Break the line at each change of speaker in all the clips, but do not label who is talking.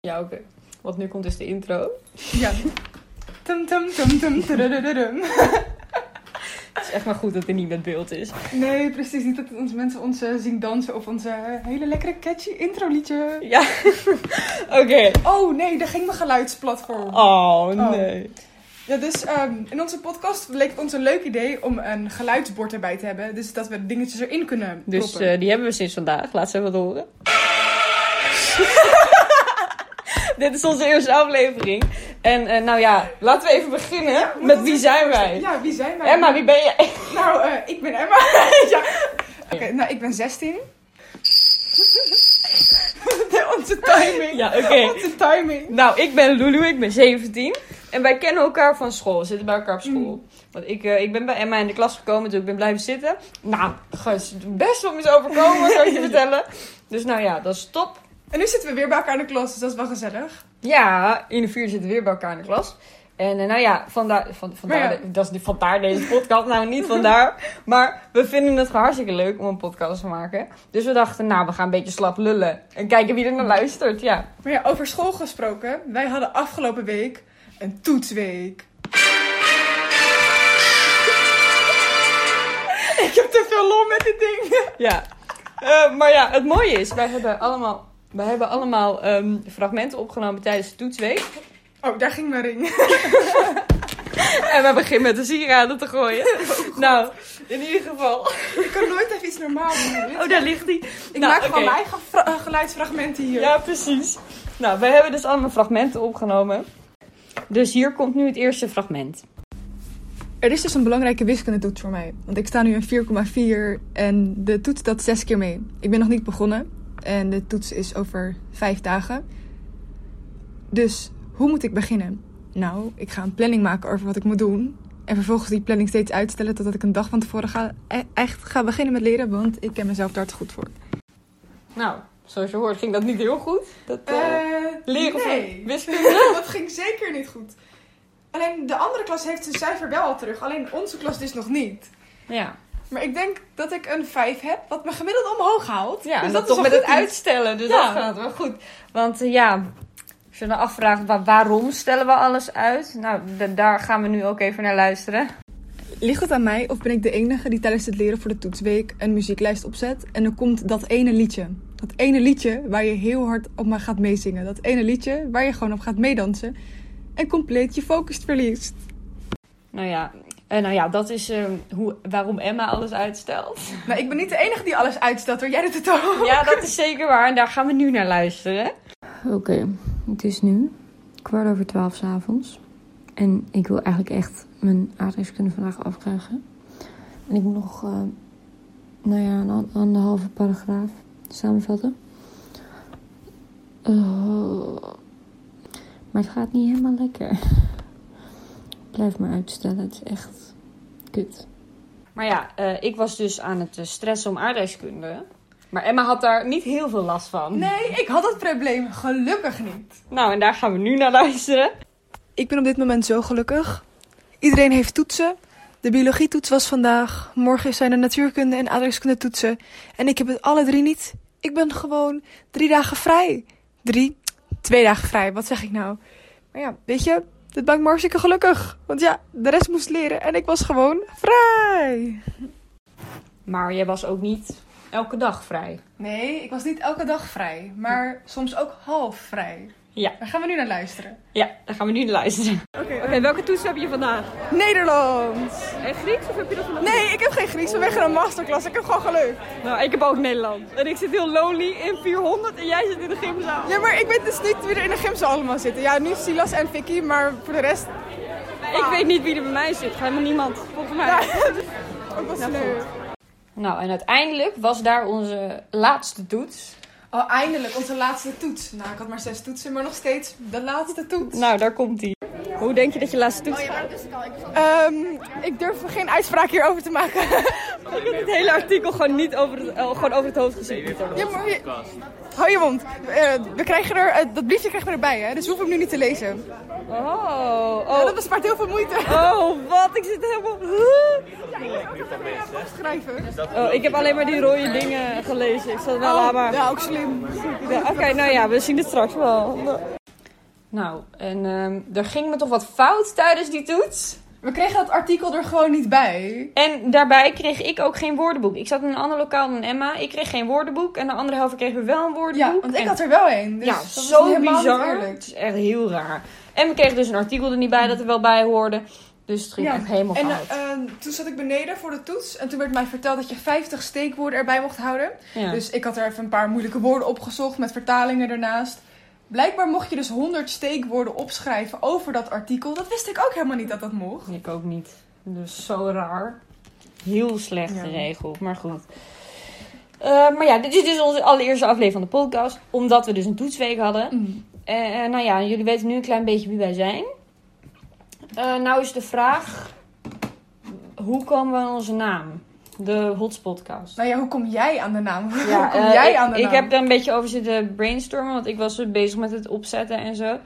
Ja, oké. Want nu komt dus de intro.
Ja. Tum tum tum tum tudududurum.
Het is echt maar goed dat dit niet met beeld is.
Nee, precies niet dat onze mensen ons eh, zien dansen of onze eh, hele lekkere catchy intro liedje.
Ja. oké.
Oh nee, daar ging mijn geluidsplatform.
Oh, nee.
Ja, dus ehm, in onze podcast leek het ons een leuk idee om een geluidsbord erbij te hebben. Dus dat we de dingetjes erin kunnen
Dus
proppen.
eh, die hebben we sinds vandaag. Laat ze even wat horen. Dit is onze eerste aflevering. En eh, nou ja, laten we even beginnen.
Ja, moet
met
ons
wie
even
zijn wij?
voorstellen. Ja, wie zijn wij?
Emma, wie ben jij?
Nou, eh, ik ben Emma. ja. Oké, nou, ik ben 16. onze timing.
Ja, oké.
Onze timing.
Nou, ik ben Lulu, ik ben 17. En wij kennen elkaar van school. We zitten bij elkaar op school.
Hmm.
Want ik, eh, ik ben bij Emma in de klas gekomen, dus ik ben blijven zitten. Nou, gast, best wel mis overkomen, zou ik je vertellen. Dus nou ja, dat is top.
En nu zitten we weer bij elkaar in de klas, dus dat is wel gezellig.
Ja, in de vier zitten we weer bij elkaar in de klas. En eh, nou ja, vandaar, van, vandaar,
Maar ja.
de- dat is de, vandaar deze podcast. Nou, niet vandaar. Maar we vinden het gewoon hartstikke leuk om een podcast te maken. Dus we dachten, nou, we gaan een beetje slap lullen. En kijken wie er naar luistert, ja.
Maar ja, over school gesproken. Wij hadden afgelopen week een toetsweek. ik heb te veel lol met dit ding.
Ja. Eh, maar ja, het mooie is, wij hebben allemaal, wij hebben allemaal ehm, fragmenten opgenomen tijdens de toetsweek.
Oh, daar ging mijn ring.
En we beginnen met de sieraden te gooien. nou, in ieder geval.
ik kan nooit even iets normaal doen.
Oh, daar ligt die.
ik
Nou,
maak gewoon
oké.
mijn eigen fra- eh, geluidsfragmenten hier.
Ja, precies. Nou, wij hebben dus allemaal fragmenten opgenomen. Dus hier komt nu het eerste fragment.
Er is dus een belangrijke wiskundetoets voor mij. Want ik sta nu in 4,4 en de toets telt zes keer mee. Ik ben nog niet begonnen en de toets is over vijf dagen. Dus hoe moet ik beginnen? Nou, ik ga een planning maken over wat ik moet doen. En vervolgens die planning steeds uitstellen totdat ik een dag van tevoren ga, e- echt ga beginnen met leren. Want ik ken mezelf daar te goed voor.
Nou, zoals je hoort ging dat niet heel goed. Dat, eh, leren van wiskunde.
dat ging zeker niet goed. Alleen de andere klas heeft zijn cijfer wel al terug. Alleen onze klas dus nog niet.
Ja,
Maar ik denk dat ik een 5 heb, wat me gemiddeld omhoog haalt.
ja en
dus
dat, toch
dat, is
met
wel
het
goed.
uitstellen. Dus
Ja.
dat gaat wel goed. Want eh, ja, als je dan afvraagt wa- waarom stellen we alles uit? Nou, d- daar gaan we nu ook even naar luisteren.
Ligt het aan mij of ben ik de enige die tijdens het leren voor de toetsweek een muzieklijst opzet en er komt dat ene liedje? Dat ene liedje waar je heel hard op maar gaat meezingen. Dat ene liedje waar je gewoon op gaat meedansen en compleet je focus verliest.
Nou ja, eh, nou ja dat is eh, hoe, waarom Emma alles uitstelt.
Maar ik ben niet de enige die alles uitstelt hoor, jij doet het ook.
Ja, dat is zeker waar. En daar gaan we nu naar luisteren.
Oké, het is nu kwart over twaalf s'avonds. En ik wil eigenlijk echt mijn aardrijkskunde vandaag afkrijgen. En ik moet nog, eh, nou ja, een an- anderhalve paragraaf samenvatten. Eh, maar het gaat niet helemaal lekker. Ik Blijf maar uitstellen, het is echt kut.
Maar ja, eh, ik was dus aan het eh, stressen om aardrijkskunde. Maar Emma had daar niet heel veel last van.
Nee, ik had dat probleem gelukkig niet.
Nou, en daar gaan we nu naar luisteren.
Ik ben op dit moment zo gelukkig. Iedereen heeft toetsen. De biologietoets was vandaag. Morgen zijn er natuurkunde en aardrijkskunde toetsen. En ik heb het alle drie niet. Ik ben gewoon drie dagen vrij. Drie, twee dagen vrij. Wat zeg ik nou? Maar ja, weet je, dit maakt me hartstikke gelukkig. Want ja, de rest moest leren en ik was gewoon vrij.
Maar jij was ook niet elke dag vrij.
Nee, ik was niet elke dag vrij. Maar soms ook half vrij.
Ja.
Daar gaan we nu naar luisteren.
Ja, daar gaan we nu naar luisteren.
Oké,
welke toets heb je vandaag?
Nederland.
En Grieks of heb je dat vandaag?
Nee, ik heb geen Grieks vanwege een masterclass. Ik heb gewoon geluk.
Nou, ik heb ook Nederland. En ik zit heel lonely in 400 en jij zit in de gymzaal.
Ja, maar ik weet dus niet wie er in de gym zo allemaal zitten. Ja, nu Silas en Vicky, maar voor de rest
Ik weet niet wie er bij mij zit. Helemaal niemand, volgens mij.
ook wel leuk.
Nou, en uiteindelijk was daar onze laatste toets.
Oh, eindelijk, onze laatste toets. Nou, ik had maar zes toetsen, maar nog steeds de laatste toets.
Nou, daar komt die. Hoe denk je dat je laatste toets gaat?
Ehm, ik durf geen uitspraak hierover te maken.
Ik heb het hele artikel gewoon niet over het, eh, gewoon over het hoofd gezien.
ja, maar je- Hou je mond. Eh, we krijgen er, eh, dat briefje krijgen we erbij, hè? dus we hoeven hem nu niet te lezen.
Oh,
Ja,
oh,
dat bespaart heel veel moeite.
oh, wat? Ik zit helemaal...
Schrijven.
Oh, ik heb alleen maar die rode Oh. dingen gelezen. Ik zat wel aan Nou, maar...
Ja, ook slim.
Ja, Oké, nou ja, we zien het straks wel. Nou, en ehm, er ging me toch wat fout tijdens die toets.
We kregen dat artikel er gewoon niet bij.
En daarbij kreeg ik ook geen woordenboek. Ik zat in een ander lokaal dan Emma. Ik kreeg geen woordenboek. En de andere helft kreeg weer wel een woordenboek.
Ja, want ik
En-
had er wel een. Dus
ja,
dat was
zo
helemaal niet
bizar.
eerlijk.
Het is echt heel raar. En we kregen dus een artikel er niet bij dat er wel bij hoorde. Dus het ging
Ja.
echt helemaal
En
fout.
eh, toen zat ik beneden voor de toets. En toen werd mij verteld dat je 50 steekwoorden erbij mocht houden.
ja.
Dus ik had er even een paar moeilijke woorden opgezocht met vertalingen ernaast. Blijkbaar mocht je dus 100 steekwoorden opschrijven over dat artikel. Dat wist ik ook helemaal niet dat dat mocht.
Ik ook niet. Dus zo raar. Heel slecht
Ja.
geregeld, maar goed. Eh, maar ja, dit is dus onze allereerste aflevering van de podcast. Omdat we dus een toetsweek hadden.
Mm.
Eh, eh, nou ja, jullie weten nu een klein beetje wie wij zijn. Eh, nou is de vraag: hoe komen we aan onze naam? De Hots Podcast.
Nou ja, hoe kom jij aan de naam? Hoe
Ja,
kom
eh,
jij
ik,
aan de
ik
naam?
heb daar een beetje over zitten brainstormen, want ik was bezig met het opzetten en zo.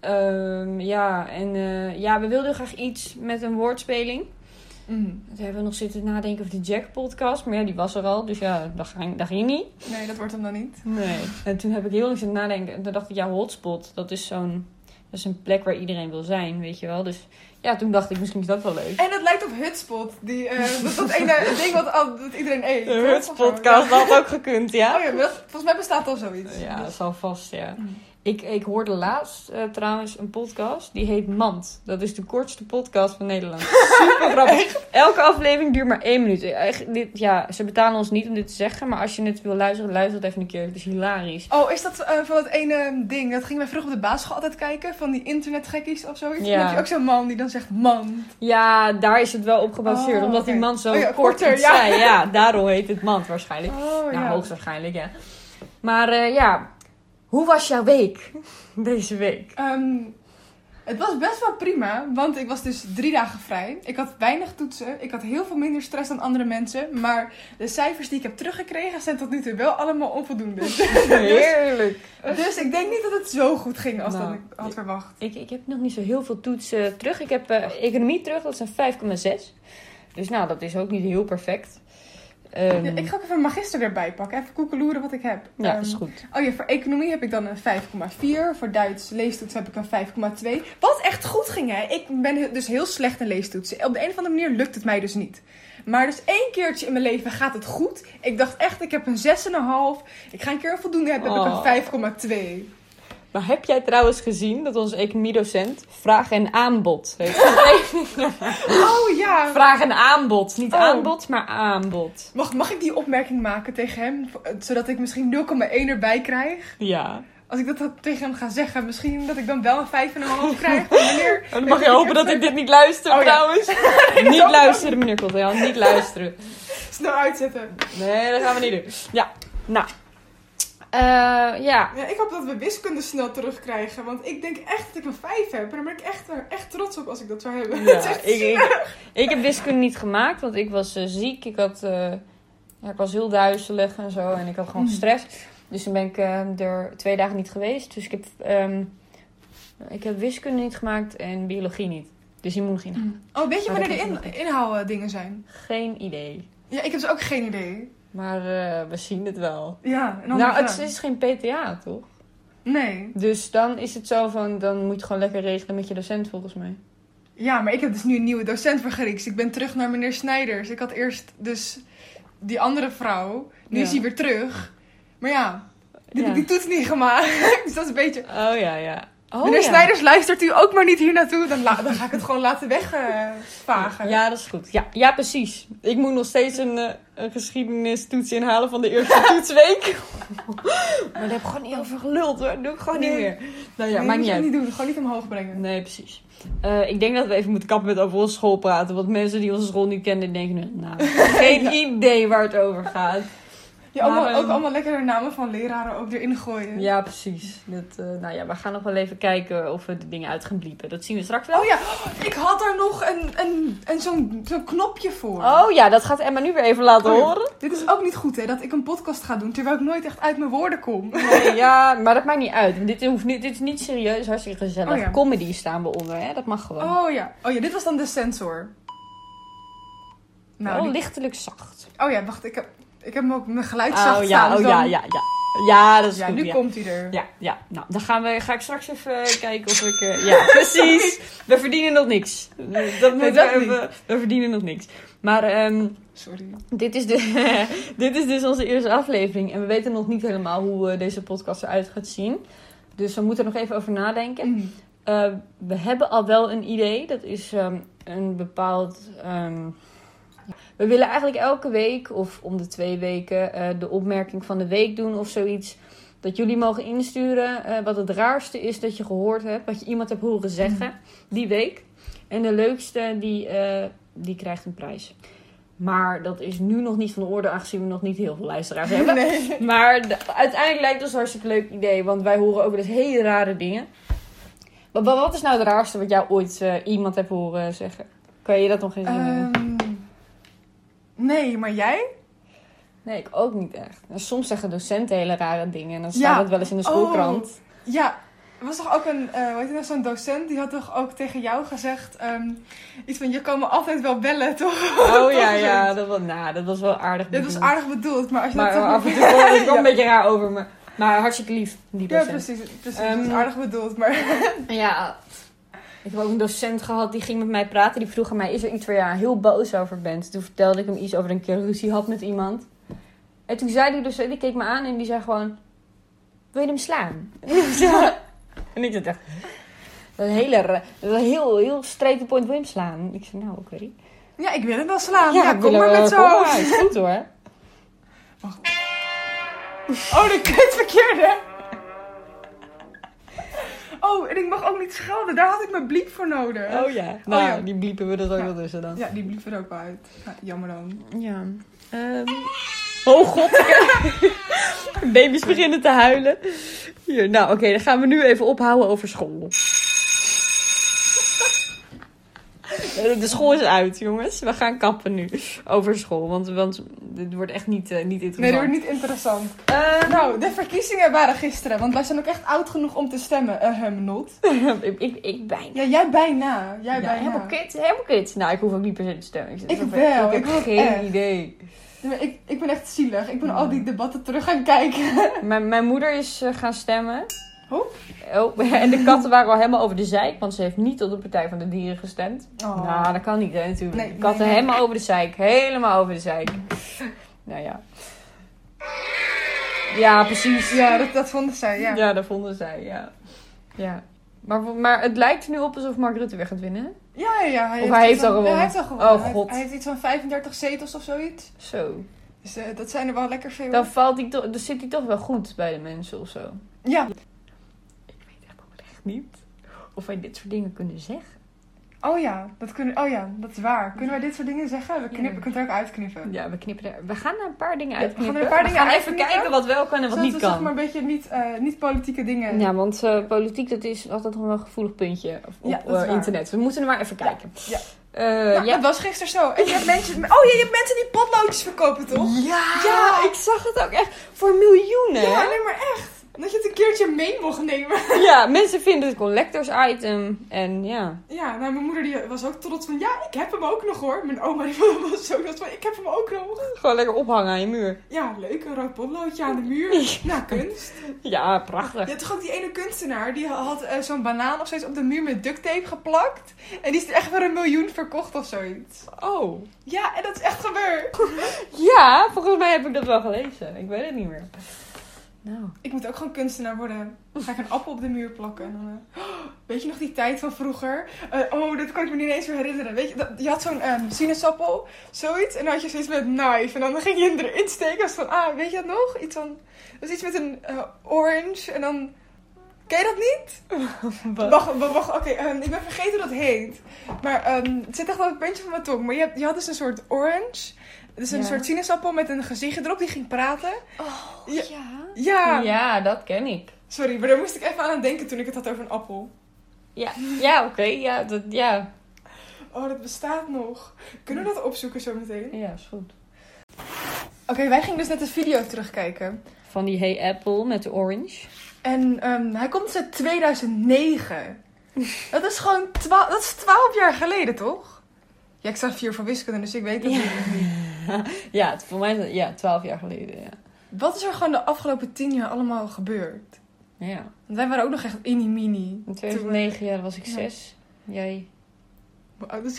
Ehm, ja, en eh, ja, we wilden graag iets met een woordspeling.
Mm.
Toen hebben we nog zitten nadenken over de Jack-podcast, maar ja, die was er al, dus ja, dat ging, dat ging niet.
Nee, dat wordt hem dan niet.
Nee. En toen heb ik heel lang zitten nadenken en toen dacht ik, ja, hotspot, dat is zo'n... Dat is een plek waar iedereen wil zijn, weet je wel. Dus ja, toen dacht ik, misschien is dat wel leuk.
En het lijkt op Hutspot. Die, eh, dat, dat ene ding wat, al- dat iedereen eet.
De Hutspodcast, dat had ook gekund,
Ja.
ja?
Oh ja, maar dat, volgens mij bestaat al zoiets.
Ja, dat
Dus-
zal vast, ja. Ik, ik hoorde laatst eh, trouwens een podcast, die heet Mand. Dat is de kortste podcast van Nederland. Super grappig. Elke aflevering duurt maar één minuut. Echt, dit, ja, ze betalen ons niet om dit te zeggen, maar als je het wil luisteren, luister het even een keer. Het is hilarisch.
Oh, is dat eh, van dat ene ding? Dat gingen wij vroeger op de basisschool altijd kijken. Van die internetgekkies of zoiets. En
Ja.
Dan heb je ook zo'n man die dan zegt man.
Ja, daar is het wel op gebaseerd.
Oh,
omdat die
oké.
man zo
Oh ja,
kort
korter,
iets
ja.
zei. Ja, daarom heet het mand waarschijnlijk.
Oh
ja, hoogstwaarschijnlijk, ja. Maar eh, ja, hoe was jouw week? Deze week.
Ehm, het was best wel prima, want ik was dus drie dagen vrij. Ik had weinig toetsen. Ik had heel veel minder stress dan andere mensen. Maar de cijfers die ik heb teruggekregen zijn tot nu toe wel allemaal onvoldoende.
Heerlijk.
dus ik denk niet dat het zo goed ging als
Nou,
dat ik had verwacht.
Ik, ik heb nog niet zo heel veel toetsen terug. Ik heb eh, economie terug, dat is een 5,6. Dus nou, dat is ook niet heel perfect. Ehm,
Ja, ik ga ook even magister erbij pakken. Even koekeloeren wat ik heb.
ja,
Ehm,
is goed.
Oh ja, voor economie heb ik dan een 5,4. Voor Duits leestoets heb ik een 5,2. Wat echt goed ging, hè? Ik ben he- dus heel slecht in leestoetsen. Op de een of andere manier lukt het mij dus niet. Maar dus één keertje in mijn leven gaat het goed. Ik dacht echt, ik heb een 6,5. Ik ga een keer een voldoende hebben,
Oh.
heb ik een 5,2.
Maar heb jij trouwens gezien dat onze economiedocent vraag en aanbod heeft?
Oh ja!
vraag en aanbod. Niet
Oh.
aanbod, maar aanbod.
Mag, mag ik die opmerking maken tegen hem? V- eh, Zodat ik misschien 0,1 erbij krijg?
Ja.
Als ik dat dan tegen hem ga zeggen, misschien dat ik dan wel een 5,5 krijg. Meneer,
En dan mag je hopen dat ik dit niet luister
Oh, ja.
trouwens. niet luisteren, meneer Kottejan. Niet luisteren.
snel uitzetten.
Nee, dat gaan we niet doen. Ja, nou. Eh, ja.
Ja, ik hoop dat we wiskunde snel terugkrijgen. Want ik denk echt dat ik een 5 heb. En daar ben ik echt, eh, echt trots op als ik dat zou hebben. Het is
ja.
echt
Ik, ik, ik heb wiskunde niet gemaakt, want ik was eh, ziek. Ik, had, eh, ja, ik was heel duizelig en zo. En ik had gewoon
Mm.
stress. Dus toen ben ik eh, er twee dagen niet geweest. Dus ik heb, ehm, ik heb wiskunde niet gemaakt en biologie niet. Dus die moet nog in.
Oh, weet je
Maar dat
wanneer de
is
in, inhouddingen zijn?
Geen idee.
Ja, ik heb dus ook geen idee.
Maar eh, we zien het wel.
Ja, en dan
Nou, het is geen PTA, toch?
Nee.
Dus dan is het zo van, dan moet je het gewoon lekker regelen met je docent volgens mij.
Ja, maar ik heb dus nu een nieuwe docent voor Grieks. Ik ben terug naar meneer Snijders. Ik had eerst dus die andere vrouw. Nu
Ja.
is hij weer terug. Maar ja, die heb
Ja.
ik die toets niet gemaakt. dus dat is een beetje...
Oh ja, ja. Oh,
meneer
ja.
Snijders, luistert u ook maar niet hier naartoe. Dan, la- dan ga ik het gewoon laten wegvagen.
Ja, dat is goed. Ja, ja precies. Ik moet nog steeds een, eh, een geschiedenistoets inhalen van de eerste toetsweek. maar daar heb ik gewoon niet over geluld hoor. Dat doe ik gewoon niet
Nee.
meer. Nou ja, maakt
Nee, moet
niet
je ook
uit.
niet doen. Gewoon niet omhoog brengen.
Nee, precies. Eh, ik denk dat we even moeten kappen met over onze school praten. Want mensen die onze school niet kennen, denken nu... Nou, geen idee waar het over gaat.
Ja, allemaal,
Maar, ehm,
ook allemaal lekkere namen van leraren ook erin gooien.
Ja, precies. Dat, eh, nou ja, we gaan nog wel even kijken of we de dingen uit gaan bliepen. Dat zien we straks wel.
Oh ja, ik had daar nog een, een, een, zo'n, zo'n knopje voor.
Oh ja, dat gaat Emma nu weer even laten
Oh ja.
horen.
Dit is ook niet goed, hè, dat ik een podcast ga doen terwijl ik nooit echt uit mijn woorden kom.
Nee, ja, maar dat maakt niet uit. want Dit, hoeft niet, dit is niet serieus, hartstikke gezellig.
Oh ja.
Comedy staan we onder, hè? dat mag gewoon. Oh,
Oh ja, oh ja dit was dan de sensor. Nou, die-
lichtelijk zacht.
nou, oh ja, wacht, ik heb, ik heb hem ook mijn geluid
Oh
zacht
ja,
staan.
oh
dus
ja,
dan-
ja, ja. Ja, dat is
Ja,
goed,
nu
ja.
komt hij er.
Ja, ja. Nou, dan gaan we, ga ik straks even kijken of ik... eh, ja, precies. We verdienen nog niks. Dat moet
Nee, dat
ik
niet.
even... We verdienen nog niks. Maar ehm,
Sorry.
dit, is de, dit is dus onze eerste aflevering. En we weten nog niet helemaal hoe eh, deze podcast eruit gaat zien. Dus we moeten er nog even over nadenken.
Mm.
Eh, we hebben al wel een idee. Dat is ehm, een bepaald. ehm, we willen eigenlijk elke week of om de twee weken eh, de opmerking van de week doen of zoiets. Dat jullie mogen insturen eh, wat het raarste is dat je gehoord hebt. Wat je iemand hebt horen zeggen die week. En de leukste die, eh, die krijgt een prijs. Maar dat is nu nog niet van de orde, aangezien we nog niet heel veel luisteraars hebben.
Nee.
Maar de- uiteindelijk lijkt ons een hartstikke leuk idee, want wij horen ook wel eens hele rare dingen. Maar, wa- wat is nou het raarste wat jou ooit eh, iemand hebt horen zeggen? Kan je dat nog eens herinneren?
Ehm, nee, maar jij?
Nee, ik ook niet echt. En soms zeggen docenten hele rare dingen en dan
Ja.
staat dat wel eens in de schoolkrant.
Ja, er was toch ook een, eh hoe heet het nou, zo'n docent, die had toch ook tegen jou gezegd, ehm, iets van, je kan me altijd wel bellen, toch?
Oh, ja,
is
ja,
het.
dat was, nou, dat was wel aardig.
Dit was
bedoeld.
aardig bedoeld, maar als je
Maar
dat toch
af en
niet-
toe kwam het kwam een beetje raar over, maar, maar hartstikke lief, die
Ja,
docent.
precies. precies
Ehm,
dat is aardig bedoeld, maar...
Ja. Ik heb ook een docent gehad die ging met mij praten. Die vroeg aan mij: Is er iets waar je heel boos over bent? Toen vertelde ik hem iets over een keer ruzie had met iemand. En toen zei die docent: Die keek me aan en die zei gewoon: Wil je hem slaan? en ik dacht echt. Dat is een hele, ra- dat is een heel, heel straight to point. Wil je hem slaan? Ik zei: Nou, oké.
Ja, ik wil hem wel slaan.
ik
Ja,
wil
kom
hem
maar
wel-
met
kom
zo'n
maar, is goed hoor.
Oh, dat klinkt verkeerd, hè? Oh, en ik mag ook niet schelden. Daar had ik mijn bliep voor nodig.
Oh ja. Nou,
ja.
die bliepen we er ook
Ja.
wel tussen dan.
Ja, die bliep er ook wel uit. Ja, jammer dan.
Ja.
Ehm,
Oh god. Baby's beginnen te huilen. Hier, nou oké, dan gaan we nu even ophouden over school. Eh, De school is uit, jongens. We gaan kappen nu over school. Want, want dit wordt echt niet, eh, niet
Nee,
interessant.
dat wordt niet interessant.
Eh,
Nou, de verkiezingen waren gisteren, want wij zijn ook echt oud genoeg om te stemmen. Eh, hem not.
nou, ik, ik, ik bijna.
Ja, jij bijna. Jij
Ja,
bijna.
helemaal kut, helemaal kut. Nou, ik hoef ook niet per se te stemmen. zit
Ik
zo ver-
wel,
Ik heb
ik wil
geen
echt.
idee.
Ja, maar Ik, ik ben echt zielig. Ik ben
Mm.
al die debatten terug gaan kijken.
Mijn, mijn moeder is eh, gaan stemmen.
Oh.
Oh, en de katten waren al helemaal over de zeik, want ze heeft niet op de Partij van de Dieren gestemd.
Oh.
Nou, dat kan niet, hè, natuurlijk.
Nee,
de katten
nee, nee.
helemaal over de zeik. Helemaal over de zeik. Nou ja. Ja, precies.
Ja, dat, dat vonden zij, ja.
Ja, dat vonden zij, ja. ja. Maar, maar het lijkt er nu op alsof Mark Rutte weer gaat winnen. hè?
Ja, ja, ja.
Of hij
iets
heeft al
van-
gewonnen.
Ja, hij heeft al gewonnen.
Oh,
Hij-
God.
Hij, heeft iets van 35 zetels of zoiets.
Zo.
Dus eh, dat zijn er wel lekker veel.
Dan, valt hij toch, dan zit hij toch wel goed bij de mensen of zo.
Ja.
Ik weet echt oprecht niet of wij dit soort dingen kunnen zeggen.
Oh ja, dat kunnen, oh ja, dat is waar. Kunnen wij dit soort dingen zeggen? We, knippen,
Ja.
we kunnen het er ook uitknippen.
Ja, we knippen er. We gaan er een paar dingen
Ja, we
uit.
gaan er een paar dingen
even
uitknippen.
kijken wat wel kan en wat
Zodat
niet
we
kan.
zeg maar een beetje niet, eh, niet politieke dingen...
Ja, want eh, politiek dat is altijd nog wel een gevoelig puntje op,
Ja,
op,
dat is
eh,
waar.
internet. We moeten er maar even kijken.
Ja.
Eh,
Nou,
ja.
Dat was gisteren zo. En je hebt mensen, oh ja, je hebt mensen die potloodjes verkopen, toch?
Ja, ik zag het ook echt voor miljoenen.
Ja,
hè?
nee, maar echt. Dat je het een keertje mee mocht nemen.
ja, mensen vinden het collectors item. En ja,
Ja, nou, mijn moeder die was ook trots van, ja, ik heb hem ook nog hoor. Mijn oma die was ook trots van, ik heb hem ook nog.
gewoon lekker ophangen aan je muur.
Ja, leuk, een rood potloodje aan de muur. Nou, kunst.
Ja,
Je
prachtig.
hebt toch ook die ene kunstenaar, die had eh, zo'n banaan of zoiets op de muur met duct tape geplakt. En die is er echt voor een miljoen verkocht of zoiets.
Oh.
Ja, en dat is echt gebeurd.
Ja, volgens mij heb ik dat wel gelezen. Ik weet het niet meer. Nou.
Ik moet ook gewoon kunstenaar worden. Dan ga ik een appel op de muur plakken. En dan, eh, oh, weet je nog die tijd van vroeger? Eh, oh, dat kan ik me niet eens meer herinneren. Weet je, dat, je had zo'n eh, sinaasappel, zoiets. En dan had je zoiets met knife. En dan ging je hem erin steken. als van, ah, weet je dat nog? Iets van, dat is iets met een eh, orange. En dan, ken je dat niet? Wacht, wacht, wacht, oké. ehm, ik ben vergeten hoe dat heet. Maar ehm, het zit echt op het puntje van mijn tong. Maar je, hebt- je had dus een soort orange. Dus een
Ja.
soort sinaasappel met een gezichtje erop die ging praten.
Oh,
Ja.
ja.
Ja.
Ja, dat ken ik.
Sorry, maar daar moest ik even aan denken toen ik het had over een appel.
Ja, ja oké. Ja, dat, ja.
Oh, dat bestaat nog. Kunnen we dat opzoeken zometeen? Oké,
ja, is goed.
wij gingen dus net de video terugkijken.
Van die Hey Apple met de orange.
En ehm, hij komt dus uit 2009. dat is gewoon 12 dat is 12 jaar geleden, toch? Ja, ik sta vier voor wiskunde, dus ik weet het
Ja.
niet.
Ja, het- voor mij is het ja, 12 jaar geleden. Ja.
Wat is er gewoon de afgelopen tien jaar allemaal gebeurd?
Nou ja,
Want wij waren ook nog echt inimini.
in
Toen
2009 jaar was ik
Ja.
6. Jij.
we- Hoe oud is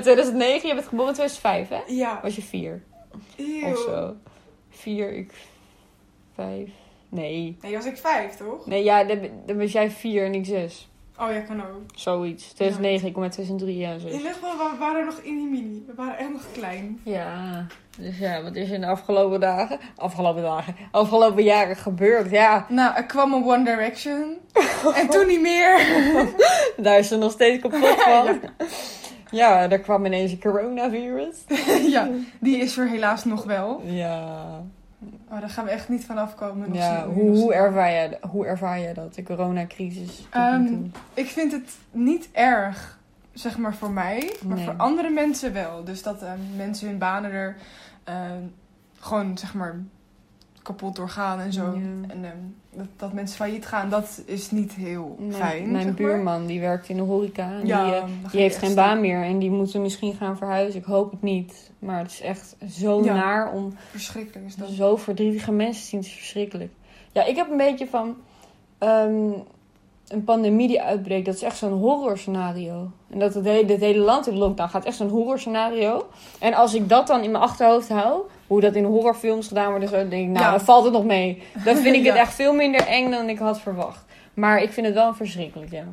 2009, je bent geboren in 2005, hè?
Ja.
Was je 4
Eeuw.
of zo? 4, ik 5. Nee.
Nee, was ik vijf, toch?
Nee, ja, dan, dan was jij 4 en ik 6.
Oh ja, kan ook.
Zoiets. 2009, ik kom uit 2003 en
In
6.
ieder geval, we waren nog inimini. We waren echt nog klein.
Ja, dus ja, wat is in de afgelopen dagen, afgelopen dagen, afgelopen jaren gebeurd? Ja,
Nou, er kwam een One Direction. en toen niet meer.
daar is ze nog steeds kapot van. Ja, daar kwam ineens een coronavirus.
ja, die is er helaas nog wel.
Ja,
Oh, daar gaan we echt niet van afkomen. nog
ja
zien-
hoe,
nog zien.
hoe, ervaar jij, hoe ervaar jij dat, de coronacrisis? tot nu
Ehm,
toe?
Ik vind het niet erg, zeg maar voor mij, maar
Nee.
voor andere mensen wel. Dus dat eh, mensen hun banen er eh, gewoon, zeg maar, kapot door gaan en zo.
Ja.
En eh, dat, dat mensen failliet gaan, dat is niet heel
Mijn,
fijn.
mijn
zeg maar.
buurman, die werkt in de horeca en
Ja,
die, eh,
dan ga
die
je
heeft
echt
geen
staan.
baan meer. En die moeten misschien gaan verhuizen, ik hoop het niet. Maar het is echt zo
Ja.
naar om
Verschrikkelijk is dat.
Zo verdrietige mensen zien het is verschrikkelijk. Ja, ik heb een beetje van ehm, een pandemie die uitbreekt. Dat is echt zo'n horror scenario. En dat het hele, het hele land in lockdown gaat. Echt zo'n horror scenario. En als ik dat dan in mijn achterhoofd hou, hoe dat in horrorfilms gedaan wordt, en zo, dan denk ik, nou,
Ja.
dan valt het nog mee. Dan vind ik het
Ja.
echt veel minder eng dan ik had verwacht. Maar ik vind het wel verschrikkelijk, ja.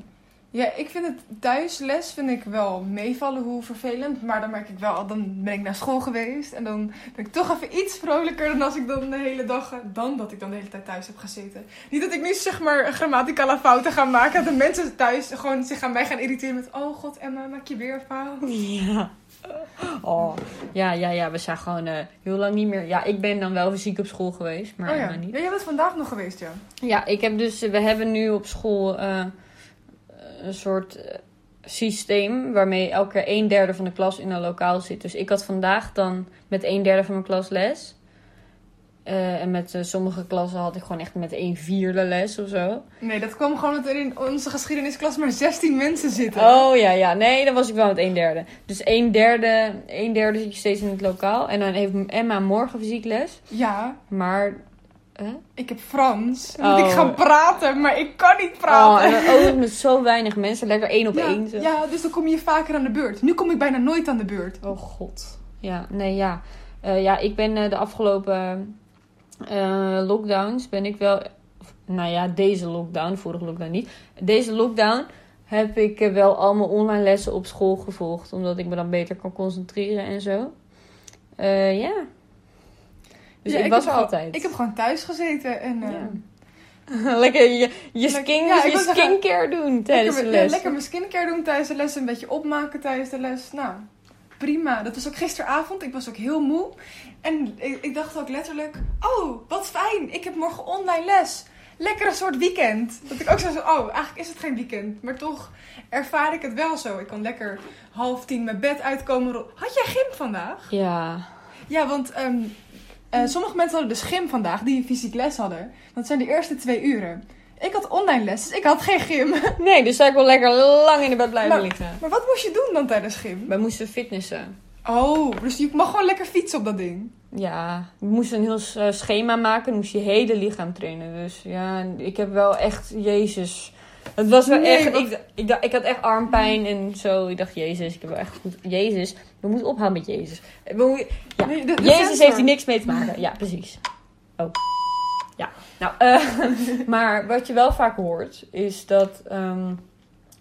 Ja, ik vind het thuisles vind ik wel meevallen hoe vervelend. Maar dan merk ik wel, dan ben ik naar school geweest. En dan ben ik toch even iets vrolijker dan als ik dan de hele dag, dan dat ik dan de hele tijd thuis heb gezeten. Niet dat ik nu zeg maar grammaticale fouten ga maken. Dat de mensen thuis gewoon zich aan mij gaan irriteren met, oh god Emma, maak je weer een fout.
Ja. Oh, ja, ja, ja. We zijn gewoon eh, heel lang niet meer... Ja, ik ben dan wel fysiek op school geweest, maar
oh ja.
Emma niet.
ja, jij bent vandaag nog geweest, ja.
Ja, ik heb dus, we hebben nu op school eh, een soort eh, systeem waarmee elke keer een derde van de klas in een lokaal zit. Dus ik had vandaag dan met een derde van mijn klas les. Eh, en met eh, sommige klassen had ik gewoon echt met een vierde les of zo.
Nee, dat kwam gewoon dat er in onze geschiedenisklas maar 16 mensen zitten.
Oh ja, ja. Nee, dan was ik wel met een derde. Dus een derde, een derde zit je steeds in het lokaal. En dan heeft Emma morgen fysiek les.
Ja,
Maar
ik heb Frans. Dan moet ik
Oh.
gaan praten, maar ik kan niet praten.
oh, en dan ook nog met zo weinig mensen. Lekker één op
ja,
één. zo.
ja, dus dan kom je vaker aan de beurt. Nu kom ik bijna nooit aan de beurt.
Oh god. Ja, nee, ja. Eh, ja, ik ben eh, de afgelopen eh, lockdowns ben ik wel... of, Nou ja, deze lockdown, vorige lockdown niet. Deze lockdown heb ik eh, wel al mijn online lessen op school gevolgd. Omdat ik me dan beter kan concentreren en zo. Eh, ja. Dus
Ja,
ik, was
heb
er
al-
altijd.
Ik heb gewoon thuis gezeten en eh,
Ja. lekker je, je,
Lekker-
skin,
ja, ik
je
wou zeggen,
skincare doen tijdens
lekker,
de
ja,
les.
lekker mijn skincare doen tijdens de les. Een beetje opmaken tijdens de les. Nou, prima. Dat was ook gisteravond. Ik was ook heel moe. En ik, ik dacht ook letterlijk, oh, wat fijn. Ik heb morgen online les. Lekker een soort weekend. Dat ik ook zo zo, oh, eigenlijk is het geen weekend. Maar toch ervaar ik het wel zo. Ik kan lekker half tien mijn bed uitkomen. ro- Had jij gym vandaag?
Ja.
Ja, want ehm, eh, sommige mensen hadden dus gym vandaag, die fysiek les hadden. Dat zijn de eerste twee uren. Ik had online les, dus ik had geen gym.
Nee, dus zou ik wel lekker lang in de bed blijven
Maar-
liggen.
Maar wat moest je doen dan tijdens gym?
Wij moesten fitnessen.
Oh, dus je mag gewoon lekker fietsen op dat ding.
Ja, we moesten een heel eh, schema maken. Dan moest je hele lichaam trainen. Dus ja, ik heb wel echt... Jezus. Het was wel
Nee,
echt...
wat-
Ik, ik, dacht- ik had echt armpijn en zo. Ik dacht, Jezus, ik heb wel echt goed... Jezus, we moeten ophouden met Jezus. We moeten- Ja.
Nee, Eh, de- de
Jezus
sensor.
heeft hier niks mee te maken. Ja, precies. Oh. Ja. Nou, eh, maar wat je wel vaak hoort, is dat ehm,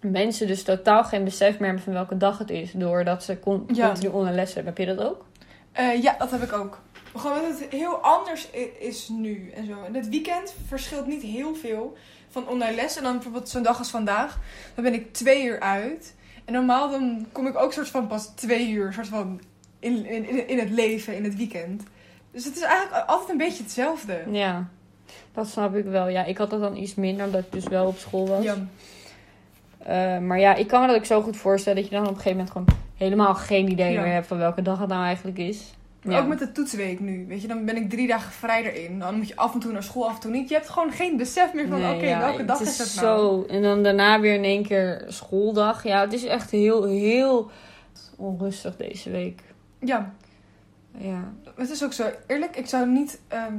mensen dus totaal geen besef meer hebben van welke dag het is. Doordat ze con-
Ja.
continu online les hebben. Heb je dat ook?
Eh, ja, dat heb ik ook. Gewoon dat het heel anders i- is nu en zo. En het weekend verschilt niet heel veel van online les. En dan bijvoorbeeld zo'n dag als vandaag, dan ben ik twee uur uit. En normaal dan kom ik ook soort van pas twee uur soort van in, in, in- in het leven, in het weekend. Dus het is eigenlijk altijd een beetje hetzelfde.
Ja, dat snap ik wel. Ja, ik had dat dan iets minder, omdat ik dus wel op school was.
Ja.
Eh, maar ja, ik kan me dat ook zo goed voorstellen dat je dan op een gegeven moment gewoon helemaal geen idee
Ja.
meer hebt van welke dag het nou eigenlijk is.
Maar
Ja.
ook met de toetsweek nu. Weet je, dan ben ik drie dagen vrij erin. Dan moet je af en toe naar school, af en toe niet. Je hebt gewoon geen besef meer van,
Nee,
oké,
ja,
welke dag
het
is,
is
het nou?
zo. En dan daarna weer in één keer schooldag. Ja, het is echt heel, heel onrustig deze week.
Ja,
Ja.
Het is ook zo. Eerlijk, ik zou niet... ehm,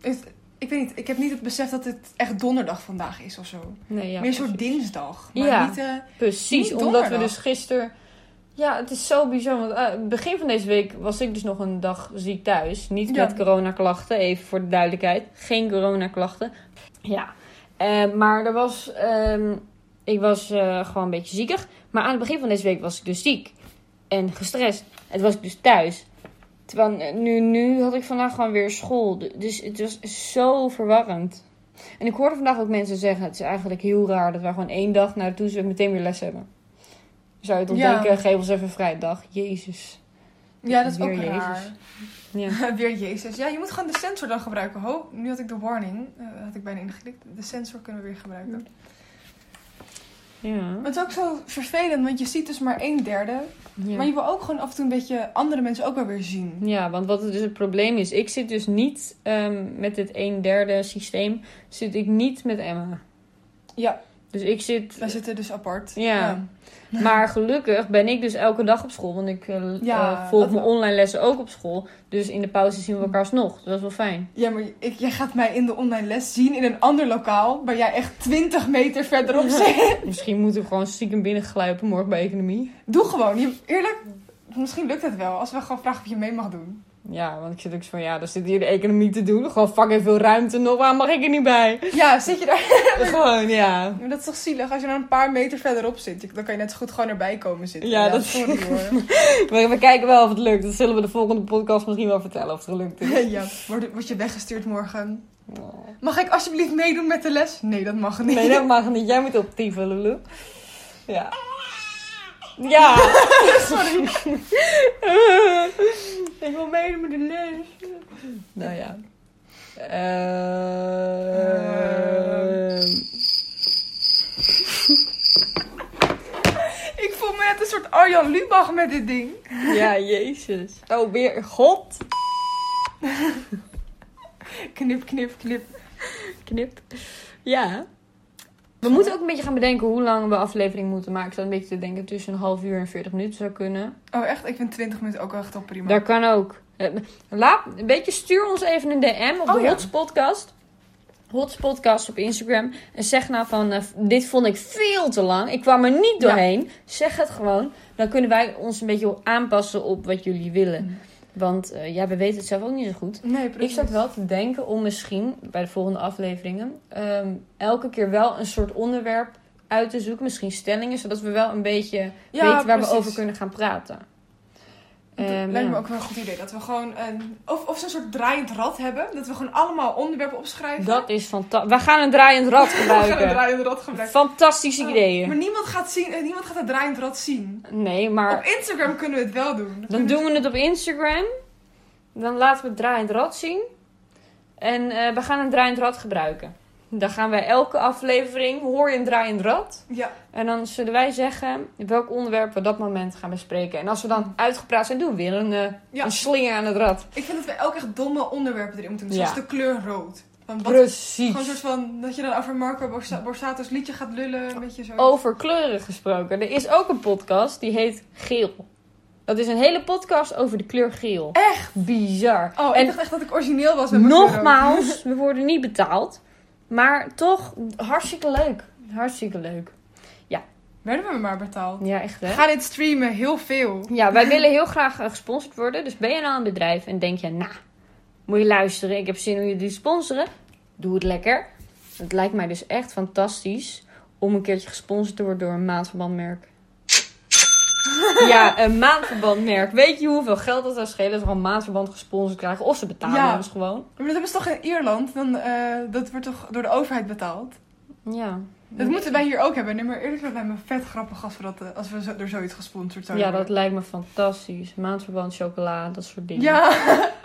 het- ik weet niet, ik heb niet het besef dat het echt donderdag vandaag is of zo.
Nee, ja.
Meer een soort
precies.
dinsdag. Maar
Ja.
niet... eh,
Precies,
Niet
omdat we
donderdag.
dus gisteren... Ja, het is zo bizar. Want eh, begin van deze week was ik dus nog een dag ziek thuis. Niet
Ja.
met coronaklachten, even voor de duidelijkheid. Geen coronaklachten. Ja, Eh, maar er was... ehm, ik was eh, gewoon een beetje ziekig. Maar aan het begin van deze week was ik dus ziek. En gestrest. En toen was ik dus thuis. Terwijl eh, nu, nu had ik vandaag gewoon weer school. Du- Dus het was zo verwarrend. En ik hoorde vandaag ook mensen zeggen: het is eigenlijk heel raar dat wij gewoon één dag naar de toezicht meteen weer les hebben. Zou je het
Ja.
ontdekken? Geef ons even vrijdag. Jezus.
ja, dat is
Weer
ook
Jezus.
raar.
Ja.
Weer Jezus. Ja, je moet gewoon de sensor dan gebruiken. Ho, nu had ik de warning. eh, had ik bijna ingeklikt. De sensor kunnen we weer gebruiken.
Ja.
Maar het is ook zo vervelend, want je ziet dus maar een derde. Maar
Ja.
je wil ook gewoon af en toe een beetje andere mensen ook wel weer zien.
ja, want wat het dus het probleem is: ik zit dus niet ehm, met dit 1 derde systeem, zit ik niet met Emma.
Ja,
Dus ik zit.
wij zitten dus apart.
Ja. Maar gelukkig ben ik dus elke dag op school, want ik eh,
Ja,
eh, volg
dat
mijn
wel.
online lessen ook op school. Dus in de pauze zien we elkaar nog. Dat is wel fijn.
Ja, maar ik, jij gaat mij in de online les zien in een ander lokaal waar jij echt 20 meter verderop zit.
Misschien moeten we gewoon stiekem binnengluipen morgen bij economie.
Doe gewoon. Je, eerlijk, misschien lukt het wel als we gewoon vragen of je mee mag doen.
Ja, want ik zit ook zo van, ja, dan zit hier de economie te doen. Gewoon fucking veel ruimte nog, waarom mag ik er niet bij?
Ja, zit je daar?
Gewoon, ja.
Maar dat is toch zielig als je nou een paar meter verderop zit. je- Dan kan je net zo goed gewoon erbij komen zitten.
Ja, dat-
sorry hoor.
We, we kijken wel of het lukt. Dat zullen we de volgende podcast misschien wel vertellen of het gelukt is.
ja, word, word je weggestuurd morgen. Mag ik alsjeblieft meedoen met de les? Nee, dat mag niet.
Nee, dat mag niet. Jij moet optieven, Lulu. Ja. Ja. Sorry. ik wil meedoen met de les. Nou ja. Ehm.
Ik voel me net een soort Arjan Lubach met dit ding.
Ja, jezus. Oh, weer God.
Knip, knip, knip.
Knipt. Ja. We moeten ook een beetje gaan bedenken hoe lang we aflevering moeten maken. Ik zat een beetje te denken tussen een half uur en 40 minuten zou kunnen.
Oh, echt? Ik vind 20 minuten ook echt al prima.
Dat kan ook. Eh, Laat, een beetje stuur ons even een DM op de
Oh, ja.
Hots Podcast. Hots Podcast op Instagram. En zeg nou van, eh, dit vond ik veel te lang. Ik kwam er niet
Ja.
doorheen. Zeg het gewoon. Dan kunnen wij ons een beetje aanpassen op wat jullie willen. Want eh, ja, we weten het zelf ook niet zo goed.
Nee,
Ik
Mm. precies.
zat wel te denken om misschien bij de volgende afleveringen ehm, elke keer wel een soort onderwerp uit te zoeken. Misschien stellingen, zodat we wel een beetje weten waar we
precies.
over kunnen gaan praten.
Dat
Ehm,
lijkt me
ja.
ook wel een goed idee. Dat we gewoon een... Of, of ze een soort draaiend rad hebben. Dat we gewoon allemaal onderwerpen opschrijven.
Dat is fantastisch. We gaan een draaiend rad
We gaan een
gebruiken.
draaiend rad Oh. gebruiken.
Fantastische
Maar
ideeën.
niemand gaat, zien, eh, niemand gaat het draaiend rad zien.
Nee,
Op
maar
Instagram kunnen we het wel doen.
dan doen we het op Instagram. Dan laten we het draaiend rad zien. En eh, we gaan een draaiend rad gebruiken. Dan gaan wij elke aflevering, hoor je een draaiend rad?
Ja,
En dan zullen wij zeggen welk onderwerp we op dat moment gaan bespreken. En als we dan uitgepraat zijn, doen we weer een, eh,
Ja.
een slinger aan het rad.
ik vind dat we ook echt domme onderwerpen erin moeten doen.
Ja.
Zoals de kleur rood. Want wat-
Precies.
Gewoon een soort van... Dat je dan over Marco Borsa- Borsato's liedje gaat lullen. Een beetje zo.
Over kleuren gesproken. Er is ook een podcast die heet Geel. Dat is een hele podcast over de kleur geel. Echt bizar.
Oh, ik
en
dacht echt dat ik origineel was met mijn
nogmaals, we worden niet betaald. Maar toch hartstikke leuk. Hartstikke leuk.
Werden we maar betaald.
Ja, echt hè?
Ga dit streamen, heel veel.
Ja, wij willen heel graag eh, gesponsord worden. Dus ben je nou een bedrijf en denk je, nou, moet je luisteren, ik heb zin om je te sponsoren. Doe het lekker. Het lijkt mij dus echt fantastisch om een keertje gesponsord te worden door een maandverbandmerk. Ja, een maandverbandmerk. Weet je hoeveel geld dat zou schelen als we een maandverband gesponsord krijgen? Of ze betalen
Ja.
ons gewoon.
Maar dat hebben ze toch in Ierland? Dan, eh, dat wordt toch door de overheid betaald?
Ja.
Dat moeten wij hier ook hebben. Nee, maar eerlijk gezegd lijkt me vet grappig als we, dat, eh, als we zo, door zoiets gesponsord zouden
Ja, dat
worden.
lijkt me fantastisch. Maandverband, chocola, dat soort dingen.
Ja,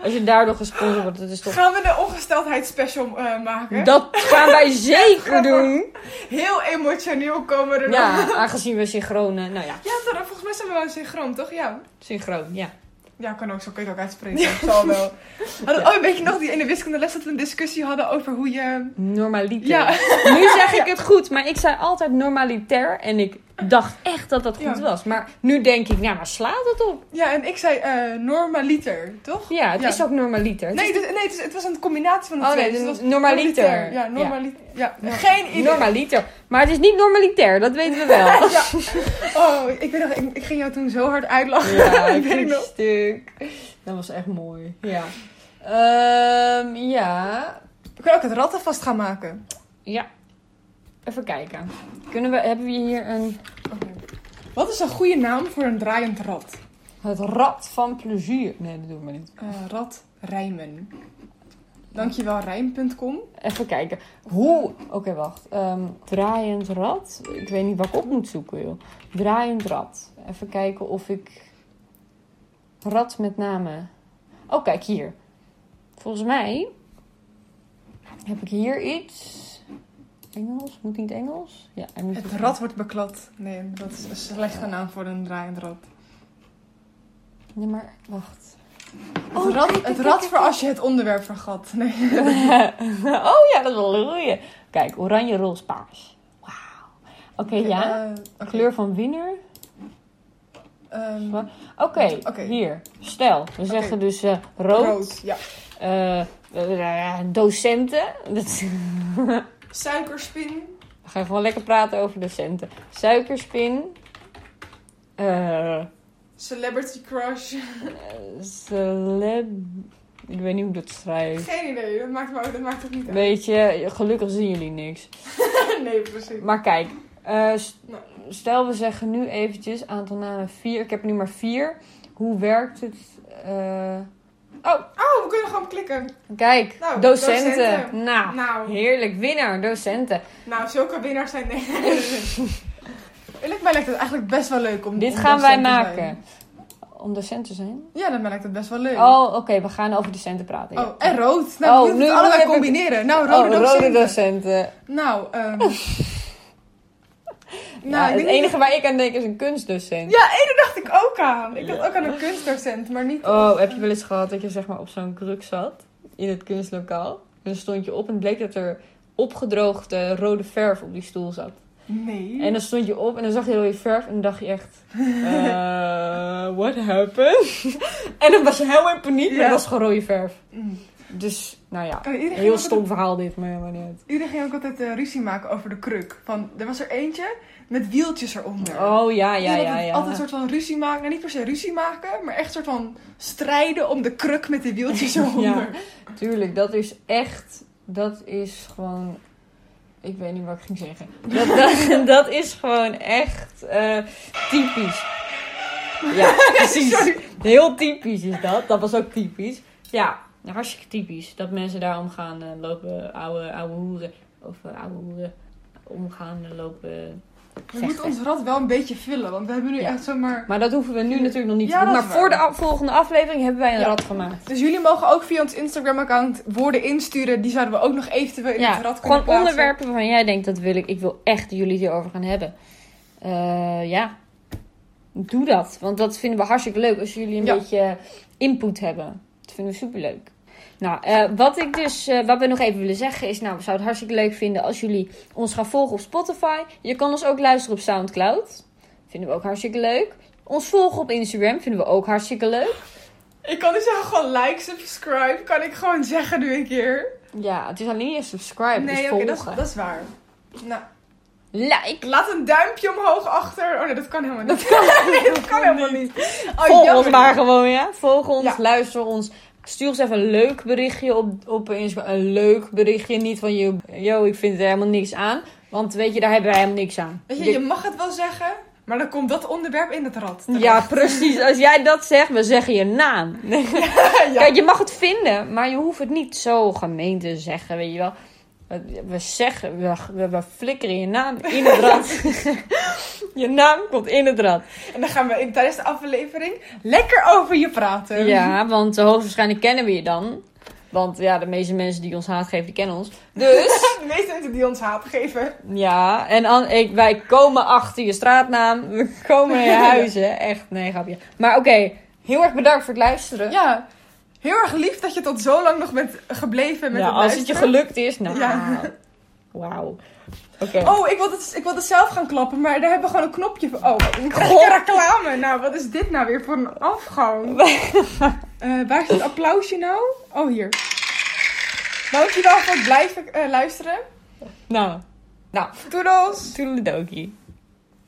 Als je daardoor gesponsord wordt, dat is toch...
gaan we de ongesteldheid special maken?
Dat gaan wij zeker
Grappig.
doen.
Heel emotioneel komen we er nog.
Ja, aangezien we synchroon... eh, Nou ja,
Ja, toch, volgens mij zijn we wel synchroon, toch? Ja.
synchroon, ja.
Ja, kan ook, zo kun je het ook uitspreken. Zal wel. Hadden, Oh, weet je nog die in de wiskundeles dat we een discussie hadden over hoe je...
Normaliter.
Ja.
Nu zeg ik het goed, maar ik zei altijd normalitair. En ik dacht echt dat dat goed
Ja.
was. Maar nu denk ik, nou, maar slaat het op?
Ja, en ik zei eh, normaliter, toch?
Ja, het
Ja.
is ook normaliter.
Nee, dit- nee het, is- het was een combinatie van de
Oh,
twee.
nee,
dus het
dus
was
normaliter.
Ja, normaliter. Ja.
Ja.
Geen idee.
Normaliter. Maar het is niet normalitair, dat weten we wel.
Ja. Oh, ik weet nog, ik, ik ging jou toen zo hard uitlachen.
Ja,
ik weet
een
nog.
stuk. Dat was echt mooi. Ja. Ehm, ja.
We kunnen ook het ratten vast gaan maken.
Ja. Even kijken. Kunnen we, hebben we hier een...
Wat is een goede naam voor een draaiend rad?
Het rad van plezier. Nee, dat doen we niet.
Eh rad rijmen. Dankjewel, rijm.com.
Even kijken. Hoe... Oké, wacht. Ehm, draaiend rad. Ik weet niet wat ik op moet zoeken, joh. Draaiend rad. Even kijken of ik... Rad met name... Oh, kijk hier. Volgens mij... Heb ik hier iets... Engels? Moet niet Engels? Ja, hij moet
Het rad wordt beklad. Nee, dat is een slechte naam voor een draaiend rad.
Nee, maar wacht.
Het rad, het rad voor als je het onderwerp vergat. Nee.
oh ja, dat is wel een goeie. Kijk, oranje, roze, paars. Wauw. Oké, ja.
Eh, oké.
Kleur van winner.
Ehm,
Wat? Oké,
Oké.
hier. Stel, we zeggen dus eh, rood.
rood. Ja.
eh, eh, eh, docenten. Dat-
Suikerspin.
we gaan gewoon lekker praten over docenten. Suikerspin. Eh,
Celebrity crush.
celeb... Ik weet niet hoe ik dat schrijf.
Geen idee, dat maakt, me ook, dat maakt ook niet uit.
Weet je, gelukkig zien jullie niks.
Nee, precies.
Maar kijk, eh, s-
Nou.
stel we zeggen nu eventjes aantal namen vier. Ik heb er nu maar vier. Hoe werkt het? eh, Oh,
Oh, we kunnen gewoon klikken.
kijk,
Nou,
docenten.
docenten.
Nou,
Nou,
heerlijk, winnaar, docenten.
nou zulke winnaars zijn... Nee. Eerlijk, mij lijkt het eigenlijk best wel leuk om
Dit
om
gaan wij
docent te
maken.
zijn.
Om docent te zijn?
Ja, dan lijkt het best wel leuk.
Oh, oké, we gaan over docenten praten. ja.
Oh, en rood. Nou,
Oh,
we moeten
nu-
het
nu
allebei
heb ik-
combineren. Nou,
Oh,
rode docenten.
docenten.
Nou, ehm
Ja,
nou, ik
het
denk
enige waar ik aan denk is een kunstdocent.
Ja, één dacht ik ook aan. Ik dacht ook aan een kunstdocent, maar niet...
Oh, heb je wel eens gehad dat je zeg maar op zo'n kruk zat in het kunstlokaal? En dan stond je op en het bleek dat er opgedroogde rode verf op die stoel zat.
Nee.
En dan stond je op en dan zag je rode verf en dan dacht je echt, eh, what happened? en dan was je helemaal in paniek, maar
Ja.
het was gewoon rode verf.
Mm.
Dus, nou ja,
Oh, iedereen
een
ging
heel
ook
stom verhaal dit, maar helemaal niet uit.
altijd- Iedereen ging ook altijd eh, ruzie maken over de kruk. Van, er was er eentje met wieltjes eronder.
Oh ja, ja,
Iedereen
ja,
altijd-
ja.
Altijd een soort van ruzie maken. Nou, niet per se ruzie maken, maar echt een soort van strijden om de kruk met de wieltjes eronder.
Tuurlijk, dat is echt, dat is gewoon, ik weet niet wat ik ging zeggen. Dat, dat, dat is gewoon echt eh, typisch. Ja, precies. Heel typisch is dat. Dat was ook typisch. Ja, hartstikke typisch. Dat mensen daarom gaan eh, lopen ouwe, ouwe hoeren. Of eh, ouwe hoeren omgaan en lopen
We
vechten.
moeten ons rad wel een beetje vullen, want we hebben nu
Ja.
echt zomaar...
Maar dat hoeven we nu natuurlijk nog niet
Ja,
te doen.
dat
Maar
is
voor de
waar.
a- volgende aflevering hebben wij een
Ja.
rad gemaakt.
Dus jullie mogen ook via ons Instagram-account woorden insturen. Die zouden we ook nog eventueel in het
Ja,
rad kunnen
gewoon
plaatsen.
onderwerpen waarvan jij denkt dat wil ik. Ik wil echt dat jullie het hierover gaan hebben. Eh, ja, doe dat. Want dat vinden we hartstikke leuk als jullie een
Ja.
beetje input hebben. Dat vinden we superleuk. Nou, eh, wat ik dus, eh, wat we nog even willen zeggen is, nou, we zouden het hartstikke leuk vinden als jullie ons gaan volgen op Spotify. Je kan ons ook luisteren op Soundcloud. Vinden we ook hartstikke leuk. Ons volgen op Instagram vinden we ook hartstikke leuk.
Ik kan niet zeggen gewoon like, subscribe. Kan ik gewoon zeggen nu een keer.
Ja, het is alleen je subscribe, dus
Nee, oké,
volgen.
dat, is- dat is waar. Nou,
Like.
laat een duimpje omhoog achter. Oh nee, dat kan helemaal niet. nee, dat kan helemaal niet. Oh,
Volg ons
jammer.
maar gewoon, ja. Volg ons,
Ja.
luister ons. Stuur ons even een leuk berichtje op, op Instagram. Een leuk berichtje, niet van yo, yo, ik vind er helemaal niks aan. Want weet je, daar hebben wij helemaal niks aan.
Weet je,
Je-
je mag het wel zeggen, maar dan komt dat onderwerp in het rad.
ja, precies. Als jij dat zegt, we zeggen je naam. Kijk, je mag het vinden, maar je hoeft het niet zo gemeen te zeggen, weet je wel. We- We zeggen, we, we, we flikkeren je naam in het rad. je naam komt in het rad.
En dan gaan we in, tijdens de aflevering lekker over je praten.
Ja, want eh, hoogstwaarschijnlijk kennen we je dan. Want ja, de meeste mensen die ons haat geven, die kennen ons. Dus,
De meeste mensen die ons haat geven.
ja. En an- ik, wij komen achter je straatnaam. We komen naar je huizen. Echt, nee, grapje. Maar oké, heel erg bedankt voor het luisteren.
Ja, heel erg lief dat je tot zo lang nog bent gebleven met
Ja,
het
Nou, als het je
luisteren.
gelukt is, nou.
Ja.
Wauw. Oké.
Oh, ik wilde, het, ik wilde het zelf gaan klappen, maar daar hebben we gewoon een knopje voor. Oh, ik krijg
God.
een reclame. Nou, wat is dit nou weer voor een afgang? Eh, waar is het applausje nou? Oh, hier. Dankjewel voor het blijven eh, luisteren.
Nou,
Doedels!
toedeledokie.